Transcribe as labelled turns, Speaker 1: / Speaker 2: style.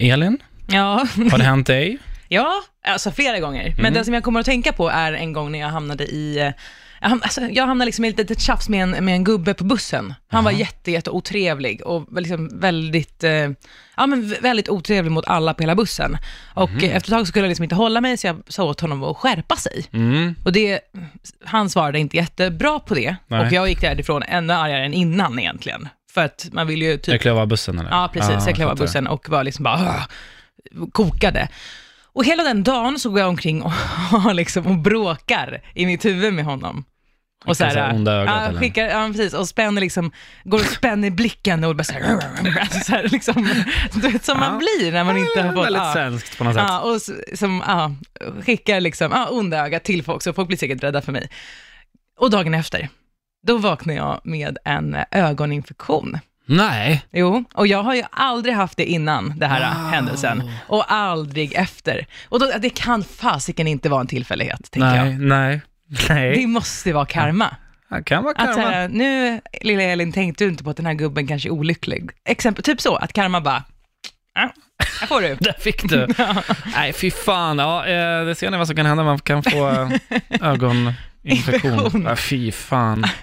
Speaker 1: Elin,
Speaker 2: Ja,
Speaker 1: har det hänt dig?
Speaker 2: ja alltså flera gånger. Men den som jag kommer att tänka på är en gång när jag hamnade i eh, jag ham- Alltså, jag hamnade liksom i ett litet tjafs med en, med en gubbe på bussen. Han var jätte, jätte otrevlig och var liksom väldigt, eh, ja, men vä- väldigt otrevlig mot alla på hela bussen. Och eh, efter ett tag så skulle jag liksom inte hålla mig, så jag sa åt honom att skärpa sig.
Speaker 1: Mm.
Speaker 2: Och det, han svarade inte jättebra på det.
Speaker 1: Nej.
Speaker 2: Och jag gick därifrån ännu argare än innan egentligen. För att man vill ju typ
Speaker 1: Jag klev av bussen eller?
Speaker 2: Ja, precis. jag klev av
Speaker 1: fattar.
Speaker 2: bussen och var liksom bara "Åh!" kokade. Och hela den dagen så går jag omkring och, har liksom, och bråkar i mitt huvud med honom. Och
Speaker 1: Skickar så här onda ögat,
Speaker 2: ja,
Speaker 1: eller?
Speaker 2: skickar, ja, precis. Och spänner liksom, går och spänner blicken och bara så här, alltså så här liksom, du vet som
Speaker 1: Ja.
Speaker 2: man blir när man inte har fått...
Speaker 1: Väldigt
Speaker 2: ja.
Speaker 1: svenskt på något sätt.
Speaker 2: Ja, och s- som, ja, skickar liksom, ja, onda ögat till folk, så folk blir säkert rädda för mig. Och dagen efter, då vaknar jag med en eh, ögoninfektion.
Speaker 1: Nej,
Speaker 2: Jo, och jag har ju aldrig haft det innan den här
Speaker 1: Wow.
Speaker 2: händelsen och aldrig efter. Och då, det kan fasiken inte vara en tillfällighet, tänker
Speaker 1: nej,
Speaker 2: jag.
Speaker 1: nej,
Speaker 2: Det
Speaker 1: nej.
Speaker 2: måste vara karma.
Speaker 1: Det kan vara
Speaker 2: Att eh, så
Speaker 1: karma.
Speaker 2: här, nu, lilla Elin, tänkte du inte på att den här gubben kanske är olycklig? Exempel, typ så, att karma bara, ja, här får du.
Speaker 1: Där fick du. Nej, fy fan. Ja, eh, det ser ni vad som kan hända. Man kan få eh, ögoninfektion.
Speaker 2: Infektion.
Speaker 1: Ja, fy fan.